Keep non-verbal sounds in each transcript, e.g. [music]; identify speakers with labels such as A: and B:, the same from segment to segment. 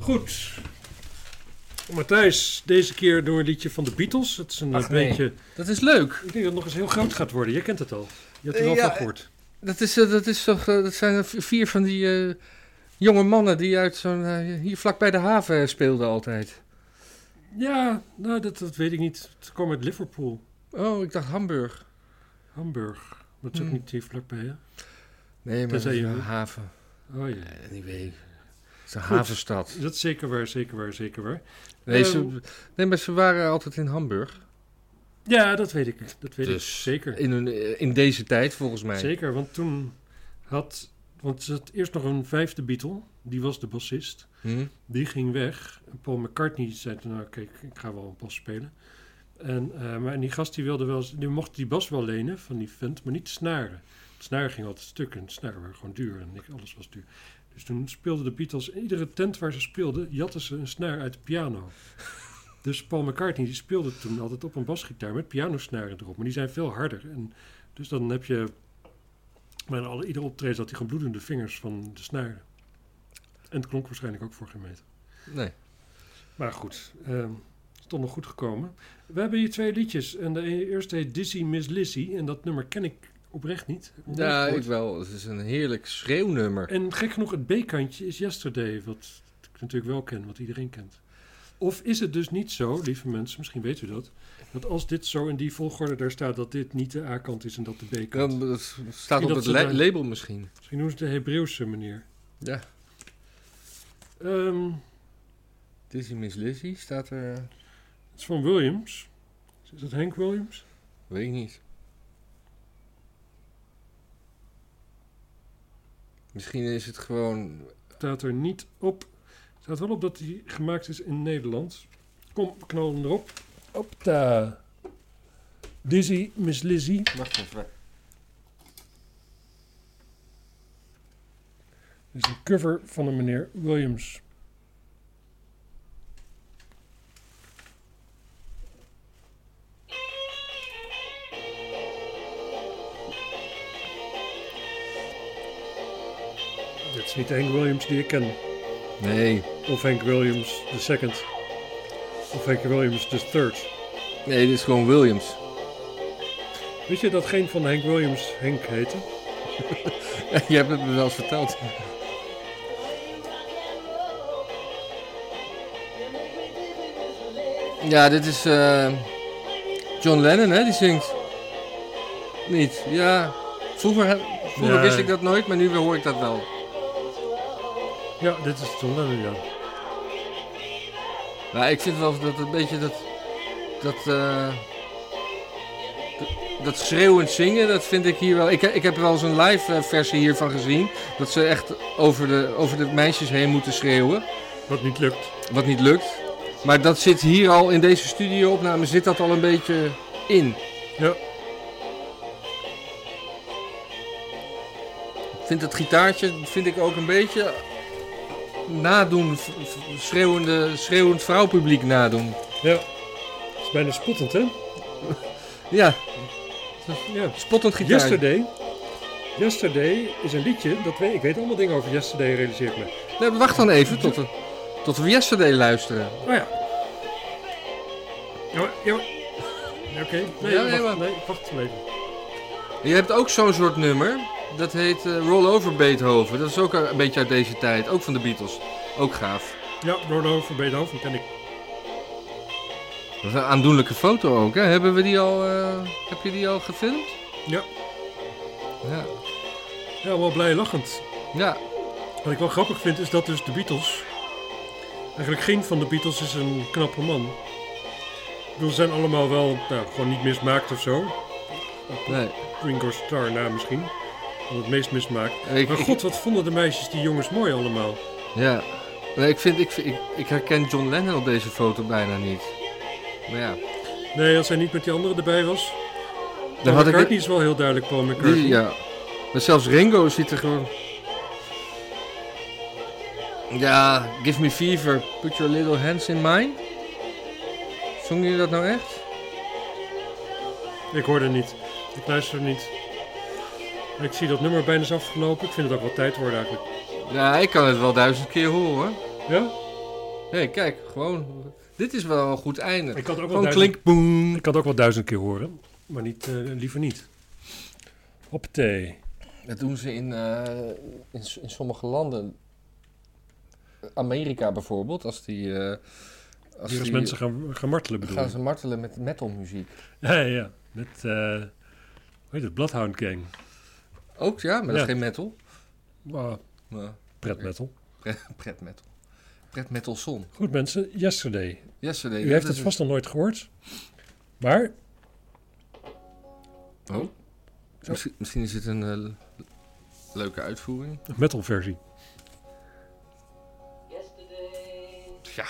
A: Goed. Matthijs, deze keer door een liedje van de Beatles. Het is een eh,
B: Ach, nee.
A: beetje...
B: Dat is leuk.
A: Ik denk dat het nog eens heel groot gaat worden. Jij kent het al. Je hebt er
B: Eh,
A: wel
B: ja,
A: van gehoord.
B: Dat, is, eh, dat, is toch, eh, dat zijn er v- vier van die eh, jonge mannen die uit zo'n, eh, hier vlak bij de haven eh, speelden altijd.
A: Ja, nou, dat, dat weet ik niet. Het kwam uit Liverpool,
B: Oh, ik dacht Hamburg.
A: Hamburg. Dat is ook
B: Hmm.
A: niet heel vlakbij, hè?
B: Nee, maar dat
A: Tenzij
B: is
A: je-
B: een haven.
A: Oh ja.
B: Eh, die weet ik. Het is een
A: Goed.
B: havenstad.
A: Dat is zeker waar, zeker waar, zeker waar.
B: Nee,
A: Eh,
B: ze, nee, maar ze waren altijd in Hamburg.
A: Ja, dat weet ik. Dat weet ik
B: Dus
A: zeker.
B: In, hun, eh, in deze tijd, volgens mij.
A: Zeker, want toen had... Want ze had eerst nog een vijfde Beatle. Die was de bassist.
B: Hm?
A: Die ging weg. En Paul McCartney zei toen, nou kijk, ik ga wel een bas spelen. En, eh, maar en die gast die wilde wel, eens- die mocht die bas wel lenen van die vent, maar niet snaren. De snaren ging altijd stuk en de snaren waren gewoon duur en ik, alles was duur. Dus toen speelden de Beatles, in iedere tent waar ze speelden, jatten ze een snaar uit de piano. Dus Paul McCartney die speelde toen altijd op een basgitaar met pianosnaren erop, maar die zijn veel harder. En dus dan heb je, bij alle, ieder optreden had hij gewoon bloedende vingers van de snaren. En het klonk waarschijnlijk ook voor geen meter.
B: Nee.
A: Maar goed, ehm, het is toch nog goed gekomen. We hebben hier twee liedjes. En de e- eerste heet Dizzy Miss Lizzy. En dat nummer ken ik oprecht niet. Heb ik nog
B: Ja,
A: nooit
B: ik
A: gehoord.
B: wel. Het is een heerlijk schreeuwnummer.
A: En gek genoeg, het B-kantje is Yesterday. Wat ik natuurlijk wel ken, wat iedereen kent. Of is het dus niet zo, lieve mensen, misschien weet u dat... dat als dit zo in die volgorde daar staat... dat dit niet de A-kant is en dat de B-kant.
B: Dan, dat staat
A: dat
B: op het
A: ze
B: la-
A: daar-
B: label misschien.
A: Misschien doen ze het de Hebreeuwse manier.
B: Ja.
A: Ehm,
B: Dizzy Miss Lizzy staat er... eh,
A: het is van Williams. Is dat Henk Williams?
B: Weet ik niet. Misschien is het gewoon...
A: staat er niet op. Het staat wel op dat hij gemaakt is in Nederland. Kom, knal hem erop. Op da. Dizzy, Miss Lizzy.
B: Wacht even.
A: Dit is een cover van een meneer Williams. Dit is niet de Hank Williams die ik ken.
B: Nee.
A: Of Hank Williams the second. Of Hank Williams the third.
B: Nee, dit is gewoon Williams. [laughs]
A: Wist je dat geen van de Hank Williams Henk heette?
B: Je hebt het me wel eens verteld. Ja, dit is eh, John Lennon, hè? Die zingt. Niet? Ja. Vroeger, he- vroeger
A: Ja.
B: wist ik dat nooit, maar nu hoor ik dat wel.
A: Ja, dit is John Lennon, ja.
B: Nou, ik vind wel dat een beetje dat... Dat, eh, dat, dat schreeuwend zingen, dat vind ik hier wel... Ik, ik heb wel eens een live eh, versie hiervan gezien. Dat ze echt over de, over de meisjes heen moeten schreeuwen.
A: Wat niet lukt.
B: wat niet lukt. Maar dat zit hier al in deze studio-opname zit dat al een beetje in.
A: Ja.
B: Ik vind dat gitaartje vind ik ook een beetje nadoen, v- v- schreeuwende, schreeuwend vrouwpubliek nadoen.
A: Ja. Het is bijna spottend, hè?
B: Ja,
A: Ja.
B: spottend gitaar.
A: Yesterday. Yesterday is een liedje dat weet... Ik weet allemaal dingen over Yesterday, realiseer ik me.
B: Nee, wacht dan even tot we, tot we Yesterday luisteren.
A: Oh ja. Ja, maar- ja, maar- Ja, Oké. Nee,
B: Ja,
A: wacht,
B: nee, maar-
A: nee, wacht even.
B: Je hebt ook zo'n soort nummer. Dat heet eh, Roll Over Beethoven. Dat is ook een beetje uit deze tijd. Ook van de Beatles. Ook gaaf.
A: Ja, Rollover Beethoven ken ik.
B: Dat is een aandoenlijke foto ook, hè? Hebben we die al, eh, heb je die al gefilmd?
A: Ja.
B: Ja.
A: Ja, wel blij lachend.
B: Ja.
A: Wat ik wel grappig vind is dat dus de Beatles. Eigenlijk geen van de Beatles is een knappe man. Ik bedoel, ze zijn allemaal wel nou, gewoon niet mismaakt of zo.
B: Nee.
A: Ringo Starr na nou, misschien. Wel het meest mismaakt.
B: Ik,
A: Maar
B: ik-
A: god, wat vonden de meisjes die jongens mooi allemaal.
B: ja. Nee, ik, vind, ik, vind- ik, ik herken John Lennon op deze foto bijna niet. Maar ja.
A: Nee, als hij niet met die anderen erbij was.
B: Dan
A: Paul
B: had ik
A: McCartney is wel heel duidelijk Paul McCartney.
B: Die, ja. Maar zelfs Ringo ziet er gewoon... Ja, Give Me Fever, Put Your Little Hands In Mine. Zongen jullie dat nou echt?
A: Ik hoorde niet. Ik luister niet. Ik zie dat nummer bijna is afgelopen. Ik vind het ook wel tijd worden eigenlijk.
B: Ja, ik kan het wel duizend keer horen hoor.
A: Ja?
B: hey, kijk, gewoon. Dit is wel een goed einde.
A: Ik had ook wel
B: Gewoon
A: duizend,
B: klink, boem.
A: ik had ook wel duizend keer horen, maar niet, eh, liever niet. Op thee.
B: Dat doen ze in, eh, in, s- in sommige landen. Amerika bijvoorbeeld, als die. eh, als
A: Hier als
B: die-
A: mensen gaan, gaan martelen bedoel
B: gaan
A: ik.
B: ze martelen met metalmuziek.
A: Ja, ja, ja. Met, eh hoe heet het, Bloodhound Gang.
B: Ook ja, maar dat
A: Ja.
B: is geen metal.
A: Wow,
B: Maar
A: pretmetal.
B: pret metal. Pret metal son.
A: Goed mensen, Yesterday.
B: Yesterday.
A: U
B: dat
A: heeft
B: is
A: het
B: een-
A: vast nog nooit gehoord. Maar,
B: Oh. Misschien, misschien is dit een eh, le- leuke uitvoering.
A: een metal versie.
C: Yesterday,
B: Ja.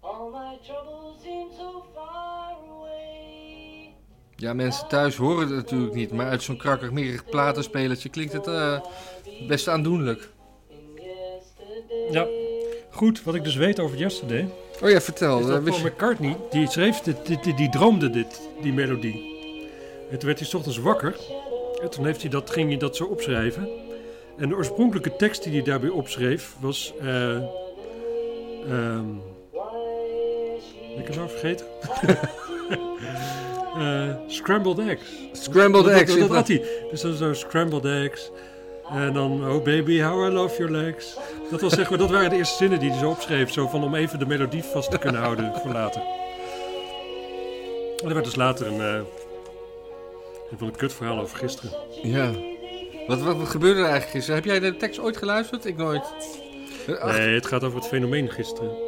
C: all my troubles seem so far away.
B: Ja, mensen thuis horen het natuurlijk niet, maar uit zo'n krakkig platenspelertje klinkt het eh, best aandoenlijk.
C: And yesterday,
A: Ja. Goed, wat ik dus weet over Yesterday...
B: Oh ja, vertel.
A: Is
B: eh,
A: dat
B: wist
A: Paul
B: je-
A: McCartney, die schreef dit, dit- dit- die droomde dit, die melodie. En toen werd hij 's ochtends wakker. En toen heeft hij dat, ging hij dat zo opschrijven. En de oorspronkelijke tekst die hij daarbij opschreef was... eh, ehm, ben ik het nou vergeten? [laughs] Eh, scrambled eggs.
B: Scrambled
A: Dat-
B: eggs.
A: Dat,
B: in
A: dat had
B: plaats-
A: hij. Dus dan zo scrambled eggs. En dan, oh baby, how I love your legs. Dat, was, zeg maar, dat waren de eerste zinnen die hij zo opschreef. Zo van om even de melodie vast te kunnen houden voor later. En er werd dus later een... eh ik vond een kutverhaal over gisteren.
B: Ja. Wat, wat, wat gebeurde er eigenlijk gisteren? Heb jij de tekst ooit geluisterd? Ik nooit. Eh, ach,
A: Nee, het gaat over het fenomeen gisteren.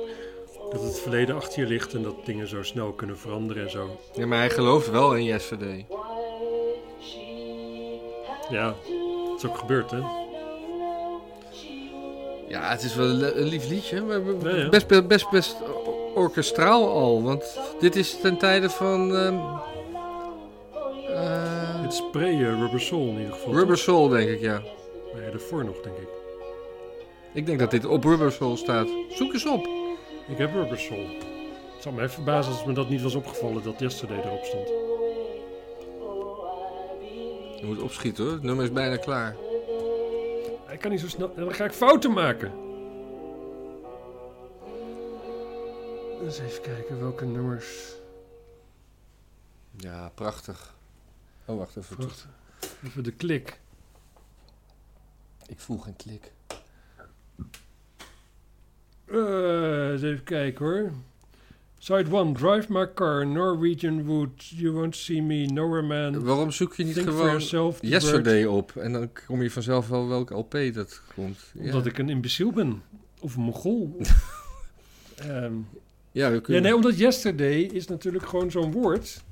A: Dat het verleden achter je ligt en dat dingen zo snel kunnen veranderen en zo.
B: Ja, maar hij gelooft wel in yesterday.
C: why she had
A: Ja,
C: to,
A: dat is ook gebeurd, hè?
C: I don't know. She would
B: Ja, het is wel een le- een lief liedje. maar we-
A: Ja, ja.
B: Best, best, best, best o- orkestraal al. Want dit is ten tijde van ehm, eh,
A: Het is pre-Rubber Soul in ieder geval.
B: Rubber Soul, denk ik, ja.
A: toch? Nee, daarvoor nog, denk ik.
B: Ik denk dat dit op Rubber Soul staat. Zoek eens op.
A: Ik heb Rubber Soul. Het zou me even verbazen als me dat niet was opgevallen dat Yesterday erop stond.
B: Je moet opschieten hoor, het nummer is bijna klaar.
A: Ik kan niet zo snel... Dan ga ik fouten maken. Eens even kijken welke nummers...
B: Ja, prachtig. Oh, wacht even.
A: Wacht. Even de klik.
B: Ik voel geen klik.
A: Eh, eens even kijken hoor. Side 1. Drive my car. Norwegian Wood. You won't see me. Nowhere man.
B: Waarom zoek je niet
A: Think for
B: gewoon
A: yourself. The
B: Yesterday op? En dan kom je vanzelf wel welke LP dat komt.
A: Bird.
B: Ja,
A: Omdat ik een imbeciel ben. Of een mongool. Ehm,
B: ja, we
A: ja,
B: kunnen...
A: nee, omdat Yesterday is natuurlijk gewoon zo'n woord...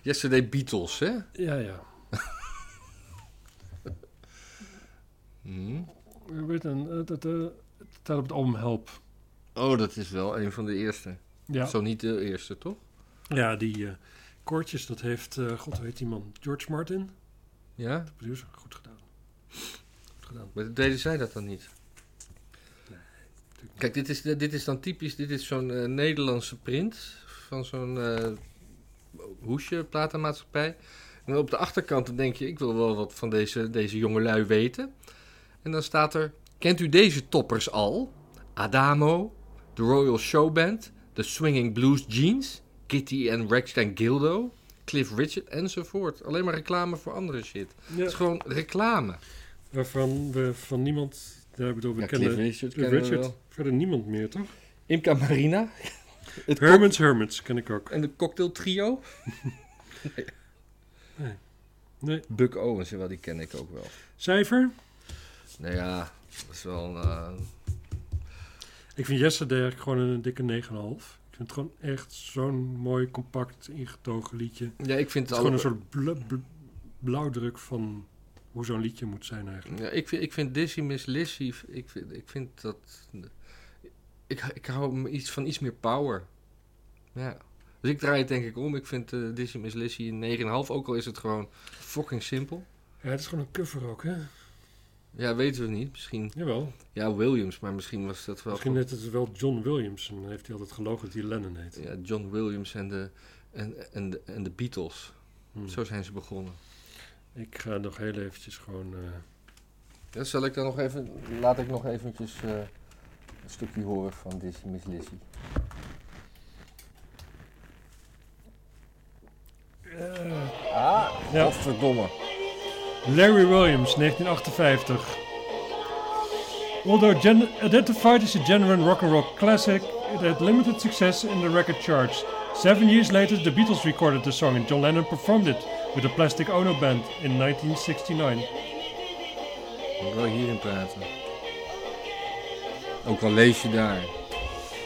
B: Yesterday Beatles, hè?
A: Ja, ja.
B: Hm.
A: Er werd een, eh, dat, eh, het staat op het album Help.
B: Oh, dat is wel een van de eerste.
A: Ja,
B: Zo niet de eerste, toch?
A: ja die eh koortjes, dat heeft, eh, god hoe heet die man, George Martin,
B: Ja?
A: de producer, goed gedaan. Goed gedaan.
B: Maar deden zij dat dan niet?
A: natuurlijk niet.
B: Kijk, dit is, dit is dan typisch, dit is zo'n eh, Nederlandse print van zo'n eh, hoesje, platenmaatschappij. En op de achterkant dan denk je, ik wil wel wat van deze, deze jongelui weten. En dan staat er, kent u deze toppers al? Adamo, The Royal Showband, The Swinging Blues Jeans, Kitty and Rex en Gildo, Cliff Richard enzovoort. Alleen maar reclame voor andere shit.
A: Ja,
B: Het is gewoon reclame.
A: waarvan we van niemand, daar bedoel, we
B: Ja,
A: kennen
B: Cliff Richard
A: Cliff
B: kennen we
A: Richard,
B: wel.
A: verder niemand meer, toch?
B: Imca Marina. Het
A: Hermits Hermits ken ik ook.
B: En de cocktail trio?
A: Nee. Nee.
B: Buck Owens, wel, die ken ik ook wel.
A: Cijfer?
B: Nou ja, dat is wel een... eh,
A: Ik vind Yesterday eigenlijk gewoon een dikke 9,5. Ik vind het gewoon echt zo'n mooi, compact, ingetogen liedje. Het
B: Ja, ik vind
A: is
B: het,
A: gewoon een
B: alle-
A: soort bla- bla- blauwdruk van hoe zo'n liedje moet zijn eigenlijk.
B: ja, ik, vind, ik vind Dizzy Miss Lizzy... Ik vind, ik vind dat... Ik, ik hou hem iets van iets meer power. Ja. Dus ik draai het denk ik om. Ik vind eh Dizzy Miss Lizzy een 9,5. Ook al is het gewoon fucking simpel.
A: Ja, het is gewoon een cover ook, hè?
B: Ja, weten we niet. Misschien...
A: Jawel.
B: Ja, Williams. Maar misschien was dat wel...
A: Misschien heet het wel John Williams en heeft hij altijd gelogen dat hij Lennon heet.
B: Ja, John Williams en de, en, en, de- en de Beatles.
A: Hmm.
B: Zo zijn ze begonnen.
A: Ik ga nog heel eventjes gewoon... eh,
B: Ja, zal ik dan nog even, laat ik nog eventjes eh, een stukje horen van Dizzy Miss Lizzy. Ah,
A: Ja.
B: godverdomme.
A: Larry Williams, 1958. Although gen- identified as a genuine rock and roll classic, it had limited success in the record charts. Seven years later, the Beatles recorded the song and John Lennon performed it with the Plastic Ono Band in 1969.
B: Ik wil wel hierin praten. Ook al lees je daar.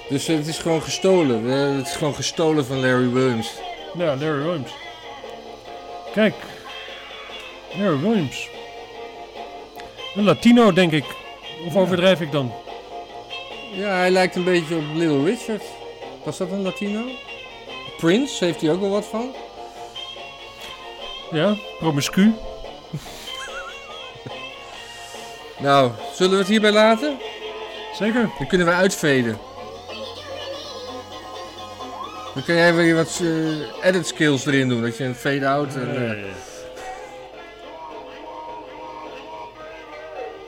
B: Dus eh, het is gewoon gestolen. We- Het is gewoon gestolen van Larry Williams.
A: Nou, Larry Williams. Kijk, Larry Williams. Een Latino, denk ik. Of overdrijf ik dan?
B: Ja, hij lijkt een beetje op Little Richard. Was dat een Latino? Prince, heeft hij ook wel wat van?
A: Ja, promiscu.
B: Nou, zullen we het hierbij laten?
A: Zeker.
B: Dan kunnen we uitveden. Dan kan jij weer wat eh, edit skills erin doen. Dat je een fade-out en... eh,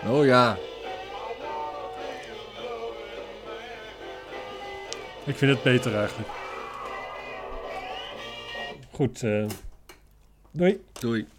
A: Eh,
B: oh ja.
A: Ik vind het beter eigenlijk. Goed. eh, doei.
B: Doei.